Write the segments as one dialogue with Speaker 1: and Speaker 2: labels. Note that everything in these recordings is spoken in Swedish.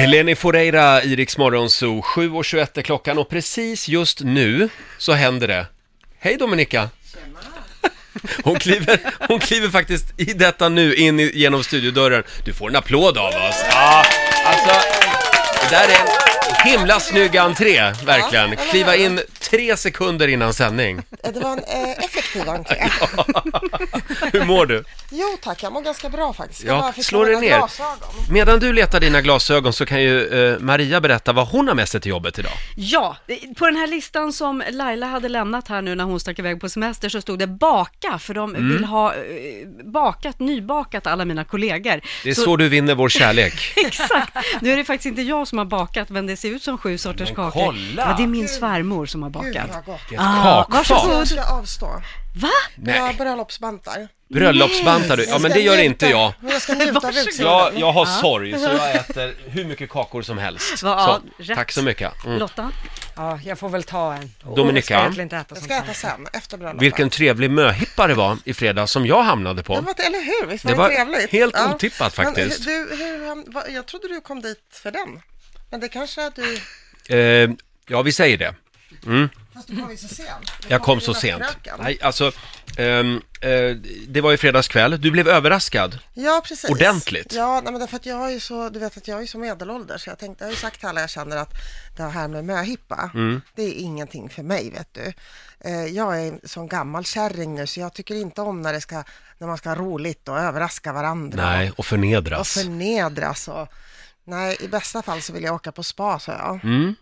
Speaker 1: Eleni Foureira, Iriks morgonzoo, 7.21 är klockan och precis just nu så händer det. Hej Dominika! Hon kliver, hon kliver faktiskt i detta nu in i, genom studiodörren. Du får en applåd av oss! Ja, alltså, det där är en himla snygg entré, verkligen. Kliva in tre sekunder innan sändning.
Speaker 2: Eh, Det var en eh, effektiv entré.
Speaker 1: Hur mår du?
Speaker 2: Jo tack, jag mår ganska bra faktiskt. Jag
Speaker 1: Ja,
Speaker 2: bara fick
Speaker 1: slå dig
Speaker 2: mina
Speaker 1: ner.
Speaker 2: glasögon.
Speaker 1: Medan du letar dina glasögon så kan ju eh, Maria berätta vad hon har med sig till jobbet idag.
Speaker 3: Ja, på den här listan som Laila hade lämnat här nu när hon stack iväg på semester så stod det baka, för de
Speaker 1: Mm.
Speaker 3: vill ha eh, bakat, nybakat alla mina kollegor.
Speaker 1: Det är så, du vinner vår kärlek.
Speaker 3: Exakt! Nu är det faktiskt inte jag som har bakat, men det ser ut som sju sorters
Speaker 1: Men
Speaker 3: kakor.
Speaker 1: kolla!
Speaker 3: Ja, det är min svärmor som har
Speaker 2: Gud
Speaker 3: bakat.
Speaker 2: vad gott.
Speaker 1: Ett
Speaker 2: Ah,
Speaker 1: kakfat.
Speaker 2: Så
Speaker 3: varsågod.
Speaker 2: jag ska avstå.
Speaker 3: Va?
Speaker 1: Nej.
Speaker 2: Jag har bröllopsbantar.
Speaker 1: Bröllopsbantar du? Ja,
Speaker 2: Jag
Speaker 1: men
Speaker 2: ska
Speaker 1: det gör
Speaker 2: njuta-
Speaker 1: inte jag.
Speaker 2: Men jag ska njuta av
Speaker 3: Varsågod.
Speaker 2: vuxenlivet.
Speaker 1: jag har sorg, så jag äter hur mycket kakor som helst.
Speaker 3: Ja,
Speaker 1: så,
Speaker 3: rätt.
Speaker 1: tack så mycket. Mm.
Speaker 3: Lotta?
Speaker 4: Ja, jag får väl ta en.
Speaker 1: Dominika.
Speaker 4: Jag ska egentligen inte äta
Speaker 2: Jag
Speaker 4: sånt
Speaker 2: ska äta
Speaker 4: här.
Speaker 2: sen, efter bröllopet.
Speaker 1: Vilken trevlig möhippa det var i fredags som jag hamnade
Speaker 2: Det
Speaker 1: på.
Speaker 2: var, eller hur? Visst
Speaker 1: Det
Speaker 2: var det,
Speaker 1: var
Speaker 2: trevligt?
Speaker 1: helt otippat
Speaker 2: Men
Speaker 1: faktiskt.
Speaker 2: hur- du, hur, ham- vad- jag trodde du kom dit för den. Men det kanske att du...
Speaker 1: Eh, ja, vi säger det.
Speaker 2: Fast du kom ju så sent. Du
Speaker 1: Jag kom
Speaker 2: ju
Speaker 1: så
Speaker 2: med
Speaker 1: sent.
Speaker 2: fröken.
Speaker 1: Nej, alltså, ehm, eh, det var ju fredags kväll. Du blev överraskad.
Speaker 2: Ja, precis.
Speaker 1: Ordentligt.
Speaker 2: Ja, nej, men därför att jag är ju så, du vet att jag är ju så medelålders, så jag tänkte, jag har ju sagt till alla jag känner att det här med möhippa,
Speaker 1: Mm.
Speaker 2: det är ingenting för mig, vet du. Eh, Jag är en sån gammal kärring nu, så jag tycker inte om när, det ska, när man ska ha roligt och överraska varandra
Speaker 1: Nej, och
Speaker 2: och
Speaker 1: förnedras.
Speaker 2: förnedras och... Nej, i bästa fall så vill jag åka på spa, sa jag.
Speaker 1: Mm.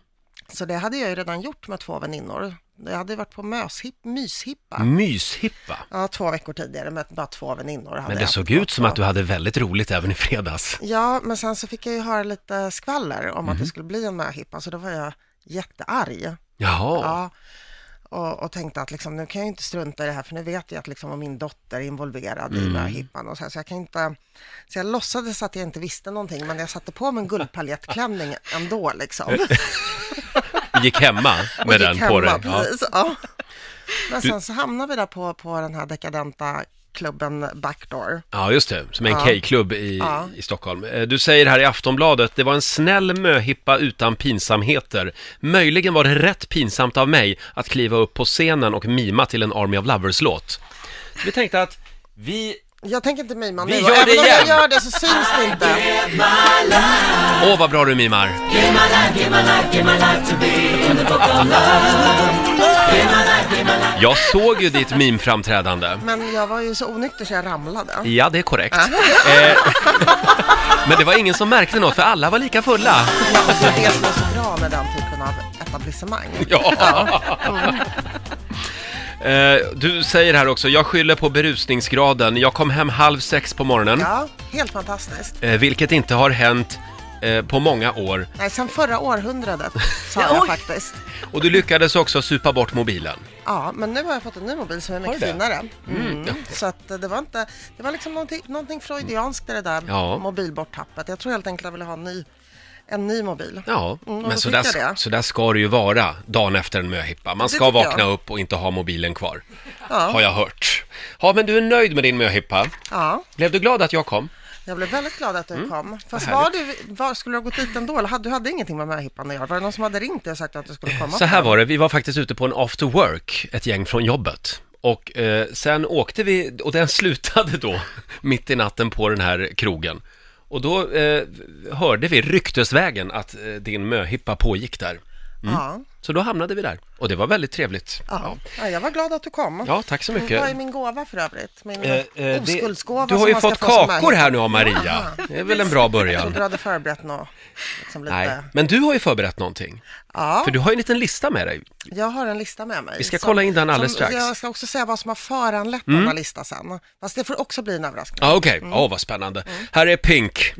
Speaker 2: Så det hade jag ju redan gjort med två väninnor. Jag hade varit på möship, myshippa.
Speaker 1: Mm. Myshippa.
Speaker 2: Ja, två veckor tidigare med bara två väninnor. hade
Speaker 1: Men det
Speaker 2: jag
Speaker 1: såg
Speaker 2: gått
Speaker 1: ut som
Speaker 2: på.
Speaker 1: att du hade väldigt roligt även i fredags.
Speaker 2: Ja, men sen så fick jag ju höra lite skvaller om
Speaker 1: Mhm.
Speaker 2: att det skulle bli en möhippa, så då var jag jättearg.
Speaker 1: Jaha.
Speaker 2: Ja. Och, och tänkte att liksom, nu kan jag ju inte strunta i det här, för nu vet jag att liksom, om min dotter är involverad
Speaker 1: Mm.
Speaker 2: i möhippan och så, här, så jag kan inte... Så jag låtsades att jag inte visste någonting, men jag satte på mig en guldpaljettklänning ändå liksom.
Speaker 1: Du gick hemma
Speaker 2: Och
Speaker 1: Eh, med
Speaker 2: gick
Speaker 1: den på
Speaker 2: hemma,
Speaker 1: dig. Ja.
Speaker 2: Precis, ja. Men sen så hamnade vi där på, på den här dekadenta klubben Backdoor.
Speaker 1: Ja, just det. Som är en
Speaker 2: Ja.
Speaker 1: gay-klubb i,
Speaker 2: Ja.
Speaker 1: i Stockholm. Eh, Du säger här i Aftonbladet, det var en snäll möhippa utan pinsamheter. Möjligen var det rätt pinsamt av mig att kliva upp på scenen och mima till en Army of Lovers-låt. Vi tänkte att vi...
Speaker 2: Jag tänker inte mima
Speaker 1: Vi
Speaker 2: nu,
Speaker 1: gör
Speaker 2: och även
Speaker 1: det
Speaker 2: om
Speaker 1: igen.
Speaker 2: jag gör det så syns det inte.
Speaker 1: Åh, vad bra du mimar! Jag såg ju ditt mimframträdande.
Speaker 2: Men jag var ju så onykter så jag ramlade.
Speaker 1: Ja, det är korrekt. Eh, men det var ingen som märkte något, för alla var lika fulla.
Speaker 2: Ja, och det är det som är så bra med den typen av etablissemang.
Speaker 1: Ja. Eh, Du säger här också, jag skyller på berusningsgraden. Jag kom hem halv sex på morgonen,
Speaker 2: Ja, helt fantastiskt.
Speaker 1: eh, vilket inte har hänt eh, på många år.
Speaker 2: Nej, sen förra århundradet sa jag faktiskt.
Speaker 1: Och du lyckades också supa bort mobilen.
Speaker 2: Ja, men nu har jag fått en ny mobil som är
Speaker 1: du
Speaker 2: mycket
Speaker 1: det?
Speaker 2: finare. Mm. Så att eh, det var inte, det var liksom någonting, någonting freudianskt i det där
Speaker 1: Ja.
Speaker 2: mobilborttappet. Jag tror helt enkelt jag ville ha en ny, en ny mobil.
Speaker 1: Ja,
Speaker 2: Mm, och
Speaker 1: men
Speaker 2: då
Speaker 1: så där,
Speaker 2: fick jag det.
Speaker 1: så där ska det ju vara dagen efter en möhippa. Man
Speaker 2: Det
Speaker 1: ska
Speaker 2: tycker jag.
Speaker 1: vakna upp och inte ha mobilen kvar, har
Speaker 2: Ja,
Speaker 1: jag hört. Ja, men du är nöjd med din möhippa.
Speaker 2: ja.
Speaker 1: Blev du glad att jag kom?
Speaker 2: Jag blev väldigt glad att du kom. Fast
Speaker 1: Mm. vad
Speaker 2: var du, var, skulle du ha gått dit ändå? Eller hade, du hade ingenting med möhippan att göra? Var det någon som hade ringt dig och sagt att du skulle komma?
Speaker 1: Så här var det, vi var faktiskt ute på en after work, ett gäng från jobbet. Och eh, sen åkte vi, och den slutade då, mitt i natten på den här krogen. Och då eh, hörde vi ryktesvägen att eh, din möhippa pågick där.
Speaker 2: Ja.
Speaker 1: Så då hamnade vi där, och det var väldigt trevligt.
Speaker 2: Ja. ja, jag var glad att du kom.
Speaker 1: Ja, tack så mycket.
Speaker 2: Vad är min gåva för övrigt? Min
Speaker 1: Eh, eh, det-
Speaker 2: oskuldsgåva
Speaker 1: du har
Speaker 2: som
Speaker 1: ju
Speaker 2: man ska
Speaker 1: fått
Speaker 2: få som
Speaker 1: kakor
Speaker 2: möhippa.
Speaker 1: här nu av Maria. Det är väl en bra
Speaker 2: Jag
Speaker 1: början.
Speaker 2: trodde du hade förberett något. Liksom lite.
Speaker 1: Nej, men du har ju förberett någonting.
Speaker 2: Ja,
Speaker 1: För du har ju en liten lista med dig.
Speaker 2: jag har en lista med mig.
Speaker 1: Vi ska kolla in den alldeles
Speaker 2: som,
Speaker 1: strax. Mm.
Speaker 2: Jag ska också säga vad som har föranlett denna lista sen. Fast det får också bli en överraskning.
Speaker 1: Ja, ah, okej. Åh, vad spännande. Här är Pink.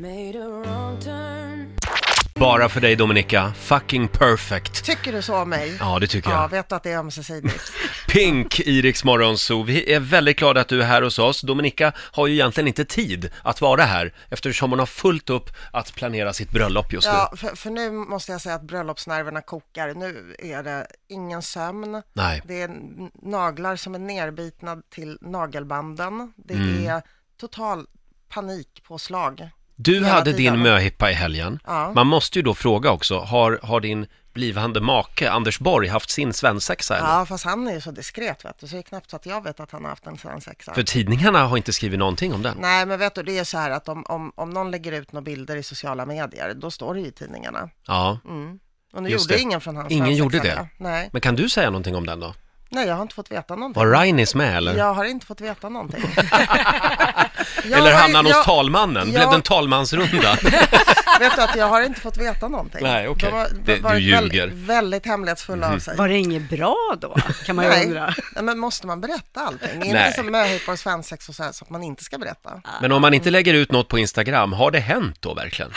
Speaker 1: Bara för dig Dominika. Fucking perfect.
Speaker 2: Tycker du så om mig?
Speaker 1: Ja, det tycker
Speaker 2: Ja,
Speaker 1: jag.
Speaker 2: vet du att det är ömsesidigt.
Speaker 1: Pink, Iriks morgonzoo. Vi är väldigt glada att du är här hos oss. Dominika har ju egentligen inte tid att vara här eftersom hon har fullt upp att planera sitt bröllop just
Speaker 2: Ja, för, för nu måste jag säga att bröllopsnerverna kokar. Nu är det ingen sömn.
Speaker 1: nu. Nej.
Speaker 2: Det är n- naglar som är
Speaker 1: Mm.
Speaker 2: nerbitna till nagelbanden. Det är total panikpåslag.
Speaker 1: Du
Speaker 2: Hela
Speaker 1: hade din
Speaker 2: tiden.
Speaker 1: möhippa i helgen.
Speaker 2: Ja.
Speaker 1: Man måste ju då fråga också, har, har din blivande make Anders Borg haft sin svensexa eller?
Speaker 2: Ja, fast han är ju så diskret vet du, så det är knappt så att jag vet att han har haft en svensexa.
Speaker 1: För tidningarna har inte skrivit någonting om den.
Speaker 2: Nej, men vet du, det är så här att om, om, om någon lägger ut några bilder i sociala medier, då står det ju i tidningarna.
Speaker 1: Ja.
Speaker 2: Mm. Och nu
Speaker 1: Just
Speaker 2: gjorde
Speaker 1: det.
Speaker 2: ingen från hans
Speaker 1: Ingen
Speaker 2: svensexa
Speaker 1: gjorde det.
Speaker 2: Nej.
Speaker 1: Men kan du säga någonting om den då?
Speaker 2: Nej, jag har inte fått veta någonting.
Speaker 1: Var Rainis med eller?
Speaker 2: Jag har inte fått veta någonting. Jag
Speaker 1: Eller
Speaker 2: har-
Speaker 1: hamnade han hos
Speaker 2: jag-
Speaker 1: talmannen? Blev
Speaker 2: jag-
Speaker 1: det en talmansrunda?
Speaker 2: Vet du att jag har inte fått veta någonting.
Speaker 1: Nej, okej.
Speaker 2: De har
Speaker 1: Det- du
Speaker 2: varit
Speaker 1: ljuger. Mm.
Speaker 2: Väldigt, väldigt hemlighetsfulla av sig.
Speaker 3: Var det inget bra då, kan man ju
Speaker 2: Nej.
Speaker 3: undra.
Speaker 2: Nej, men måste man berätta allting?
Speaker 1: Nej.
Speaker 2: Inte som möhippor och svensex och så här, så att man inte ska berätta.
Speaker 1: Men om man inte lägger ut något på Instagram, har det hänt då verkligen?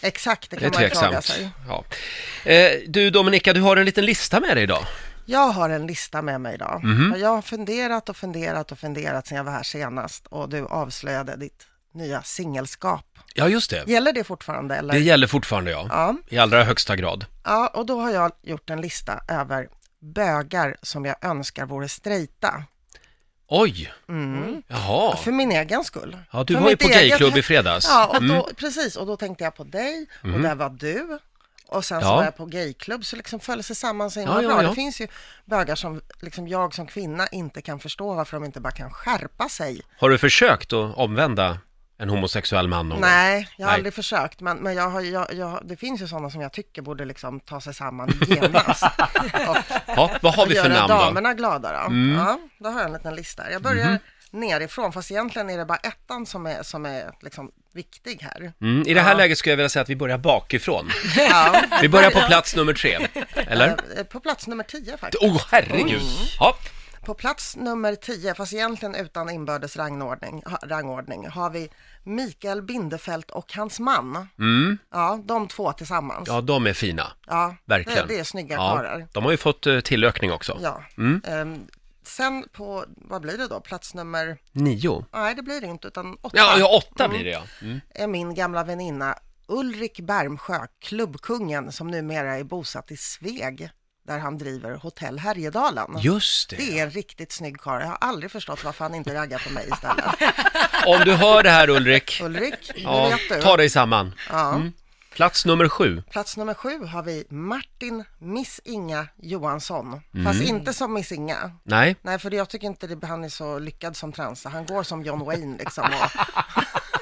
Speaker 2: Exakt, det
Speaker 1: Det är
Speaker 2: kan man ju fråga
Speaker 1: tveksamt.
Speaker 2: sig.
Speaker 1: Ja. Eh, du Dominika, du har en liten lista med dig idag.
Speaker 2: Jag har en lista med mig idag.
Speaker 1: Mhm.
Speaker 2: Och jag har funderat och funderat och funderat sedan jag var här senast och du avslöjade ditt nya singelskap.
Speaker 1: Ja, just det.
Speaker 2: Gäller det fortfarande eller?
Speaker 1: Det gäller fortfarande ja.
Speaker 2: Ja.
Speaker 1: I allra högsta grad.
Speaker 2: ja, och då har jag gjort en lista över bögar som jag önskar vore strejta.
Speaker 1: Oj! Jaha.
Speaker 2: Mm. För min egen skull.
Speaker 1: Ja, du
Speaker 2: För
Speaker 1: var ju
Speaker 2: mitt
Speaker 1: på
Speaker 2: eget-
Speaker 1: gayklubb i fredags. Mm. Mhm.
Speaker 2: Ja, och då, precis. Och då tänkte jag på dig och där var du. Och sen
Speaker 1: Ja.
Speaker 2: så var jag på gayklubb, så liksom föll sig samman så himla
Speaker 1: Ja, ja,
Speaker 2: bra.
Speaker 1: ja.
Speaker 2: Det finns ju bögar som liksom jag som kvinna inte kan förstå varför de inte bara kan skärpa sig.
Speaker 1: Har du försökt att omvända en homosexuell man någon gång?
Speaker 2: Nej, jag har
Speaker 1: Nej.
Speaker 2: aldrig försökt, men, men jag har, jag, jag, det finns ju sådana som jag tycker borde liksom ta sig samman genast. och
Speaker 1: Ja, vad har vi för
Speaker 2: göra
Speaker 1: namn då? Mm. Mhm.
Speaker 2: damerna glada då. Ja, då har jag en liten lista. här. Jag börjar nerifrån, fast egentligen är det bara ettan som är, som är liksom viktig här.
Speaker 1: Mm, I det här läget skulle jag vilja säga att vi börjar bakifrån.
Speaker 2: Ja,
Speaker 1: Vi börjar på plats nummer tre. Eller?
Speaker 2: eh, på plats nummer 10 faktiskt.
Speaker 1: Oh, herregud!
Speaker 2: Mm.
Speaker 1: Ja.
Speaker 2: På plats nummer 10, fast egentligen utan inbördes rangordning, ha- rangordning har vi Mikael Bindefeld och hans man. Ja, de två tillsammans. Ja,
Speaker 1: Mm. ja, de är fina. Verkligen.
Speaker 2: Det, det är snygga
Speaker 1: Ja, Mm.
Speaker 2: karlar.
Speaker 1: de har ju fått eh, tillökning också.
Speaker 2: Ja. Ehm, sen på, vad blir det då, plats nummer,
Speaker 1: Nio.
Speaker 2: nej det blir det inte, utan åtta
Speaker 1: Ja, ja åtta blir det ja. Mm.
Speaker 2: är min gamla väninna Ulrik Bermsjö, klubbkungen som numera är bosatt i Sveg, där han driver Hotell Härjedalen.
Speaker 1: Just det.
Speaker 2: Det är en riktigt snygg karl. Jag har aldrig förstått varför han inte raggar på mig istället.
Speaker 1: Om du hör det här Ulrik,
Speaker 2: Ulrik, nu
Speaker 1: ja, Mm.
Speaker 2: vet du.
Speaker 1: ta dig samman.
Speaker 2: Ja.
Speaker 1: Plats nummer sju.
Speaker 2: Plats nummer sju har vi Martin Miss Inga Johansson.
Speaker 1: Mm.
Speaker 2: Fast inte som Miss Inga.
Speaker 1: Nej,
Speaker 2: Nej, för jag tycker inte det, han är så lyckad som transa. Han går som John Wayne liksom. Och...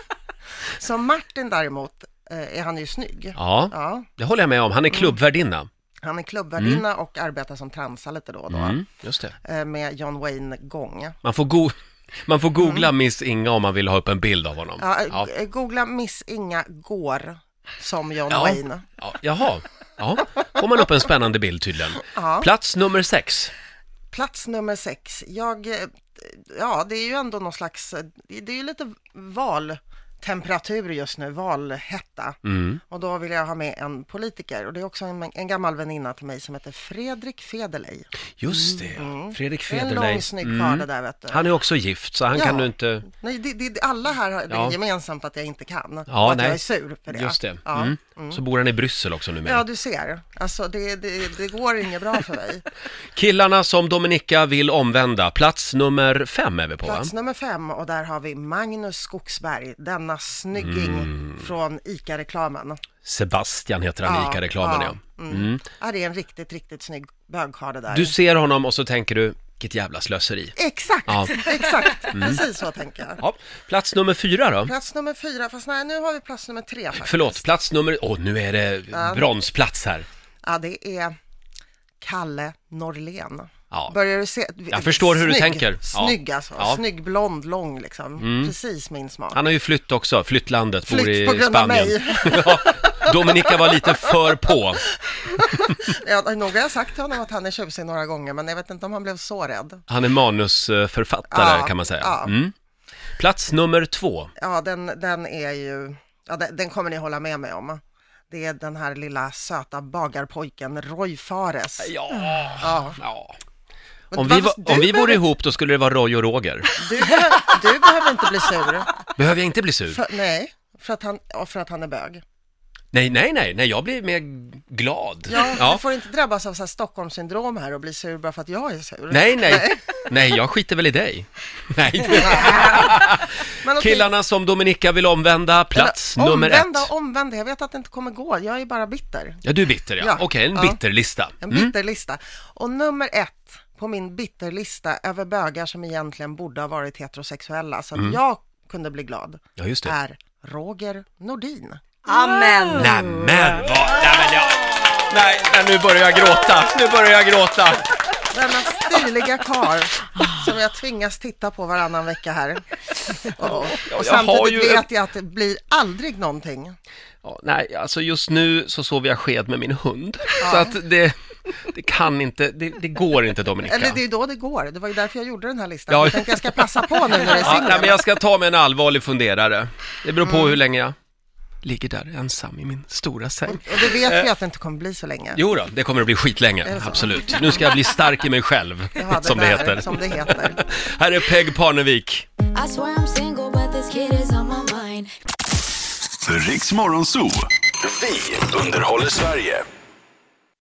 Speaker 2: så Martin däremot eh, är han ju snygg.
Speaker 1: ja,
Speaker 2: Ja, Mm.
Speaker 1: det håller jag med om. Han är klubbvärdinna.
Speaker 2: han är klubbvärdinna och arbetar som transa lite då och då.
Speaker 1: Mm, just det.
Speaker 2: eh, Med John Wayne-gång.
Speaker 1: Man får, go- man får googla Miss Inga om man vill ha upp en bild av honom.
Speaker 2: Mm. Ja, eh,
Speaker 1: Ja.
Speaker 2: eh, Googla Miss Inga går som John
Speaker 1: Ja.
Speaker 2: Wayne.
Speaker 1: Ja, jaha, ja. får man upp en spännande bild tydligen.
Speaker 2: Ja.
Speaker 1: Plats nummer sex.
Speaker 2: Plats nummer sex. Jag, eh, ja, det är ju ändå någon slags, eh, det är ju lite valtemperatur just nu, valhetta.
Speaker 1: Mm.
Speaker 2: Och då vill jag ha med en politiker och det är också en, en gammal väninna till mig som heter Fredrik Federley.
Speaker 1: Just det, ja. Fredrik
Speaker 2: Mm. Det är en lång
Speaker 1: Federley. Mm.
Speaker 2: snygg karl det där vet du.
Speaker 1: Han är också gift, så han
Speaker 2: Ja.
Speaker 1: kan ju inte...
Speaker 2: Nej, det, det, det- alla här har det
Speaker 1: Ja.
Speaker 2: är gemensamt att jag inte kan
Speaker 1: Ja,
Speaker 2: och att
Speaker 1: nej.
Speaker 2: jag är sur för det.
Speaker 1: Just det.
Speaker 2: Ja.
Speaker 1: Mm. Så bor han i Bryssel också numera.
Speaker 2: Ja, du ser. Alltså, det, det, det går inget bra för mig.
Speaker 1: Killarna som Dominika vill omvända, plats nummer fem är vi på va?
Speaker 2: Plats nummer fem och där har vi Magnus Skogsberg, denna snygging
Speaker 1: Mm.
Speaker 2: från ICA-reklamen.
Speaker 1: Sebastian heter han i
Speaker 2: Ja,
Speaker 1: ICA-reklamen ja.
Speaker 2: Mm. Ja, det är en riktigt, riktigt snygg bögkarl det där.
Speaker 1: Du ser honom och så tänker du, vilket jävla slöseri.
Speaker 2: Exakt,
Speaker 1: Ja. Mm.
Speaker 2: exakt, precis så tänker jag.
Speaker 1: Ja. Plats nummer fyra då?
Speaker 2: Plats nummer fyra, fast nej nu har vi plats nummer tre faktiskt.
Speaker 1: Förlåt, plats nummer... Åh, nu är det bronsplats här.
Speaker 2: Ja, det är Kalle Norlén.
Speaker 1: Ja.
Speaker 2: Börjar du se?
Speaker 1: Jag förstår hur du
Speaker 2: Snygg,
Speaker 1: tänker. Ja.
Speaker 2: Snygg alltså,
Speaker 1: Ja. Mm.
Speaker 2: snygg, blond, lång liksom. Precis min smak.
Speaker 1: Han har ju flytt också, flytt landet, bor
Speaker 2: Flytt
Speaker 1: i
Speaker 2: på grund av
Speaker 1: Spanien.
Speaker 2: mig.
Speaker 1: Ja, Dominika var lite för på.
Speaker 2: Ja, nog har jag sagt till honom att han är tjusig några gånger, men jag vet inte om han blev så rädd.
Speaker 1: Han är manusförfattare
Speaker 2: Ja,
Speaker 1: kan man säga.
Speaker 2: ja.
Speaker 1: Mm. Plats nummer två.
Speaker 2: Ja, den, den är ju, ja, den, den kommer ni hålla med mig om. Det är den här lilla söta bagarpojken Roy Fares.
Speaker 1: Ja.
Speaker 2: Ja.
Speaker 1: ja.
Speaker 2: Men
Speaker 1: Om,
Speaker 2: vad-
Speaker 1: vi, var,
Speaker 2: du,
Speaker 1: om vi vore
Speaker 2: behöver-
Speaker 1: ihop då skulle det vara Roy och Roger.
Speaker 2: Du, behöver- du behöver inte bli sur.
Speaker 1: Behöver jag inte bli sur?
Speaker 2: För, nej, för att, han, ja, för att han är bög.
Speaker 1: Nej, nej, nej, nej, jag blir mer glad.
Speaker 2: Ja, Du får inte drabbas av så här Stockholmssyndrom här och bli sur bara för att jag är sur.
Speaker 1: Nej, nej, nej, jag skiter väl i dig. Nej.
Speaker 2: Men okej,
Speaker 1: Killarna som Dominika vill omvända, plats
Speaker 2: eller
Speaker 1: nummer ett.
Speaker 2: Omvända, omvända, jag vet att det inte kommer gå. Jag är bara bitter.
Speaker 1: Ja, du är bitter ja.
Speaker 2: Ja.
Speaker 1: Okej, en
Speaker 2: Ja.
Speaker 1: bitterlista.
Speaker 2: En
Speaker 1: Mm.
Speaker 2: bitterlista. Och nummer ett på min bitterlista över bögar som egentligen borde ha varit heterosexuella, så att jag kunde bli glad,
Speaker 1: Ja, Mm. just det.
Speaker 2: är Roger Nordin.
Speaker 4: Amen!
Speaker 1: Nämen, vad... Nämen, jag... Nej, nej, nu börjar jag gråta. Nu börjar jag gråta.
Speaker 2: Denna stiliga karl som jag tvingas titta på varannan vecka här.
Speaker 1: jag
Speaker 2: Och, och
Speaker 1: har ju
Speaker 2: samtidigt
Speaker 1: en-
Speaker 2: vet jag att det blir aldrig någonting.
Speaker 1: Ja, nej, alltså just nu så sover jag sked med min hund. Så att det, det kan inte, det, det går inte Dominika.
Speaker 2: Eller det är då det går. Det var ju därför jag gjorde den här listan.
Speaker 1: Ja.
Speaker 2: Jag tänkte jag ska passa på nu när det är
Speaker 1: Ja, nej,
Speaker 2: singel.
Speaker 1: men jag ska ta mig en allvarlig funderare. Det beror på
Speaker 2: Mm.
Speaker 1: hur länge jag ligger där ensam i min stora säng.
Speaker 2: Och det vet vi
Speaker 1: Eh.
Speaker 2: att det inte kommer bli så länge.
Speaker 1: Jo då, det kommer att bli
Speaker 2: Är
Speaker 1: skitlänge,
Speaker 2: det så?
Speaker 1: absolut. Nu ska jag bli stark i mig själv,
Speaker 2: Jaha,
Speaker 1: som det
Speaker 2: där,
Speaker 1: heter.
Speaker 2: Som det heter.
Speaker 1: Här är Peg Parnevik.
Speaker 5: I swear I'm single, but this kid is on my mind.
Speaker 6: Riks Morgonzoo. Vi underhåller Sverige.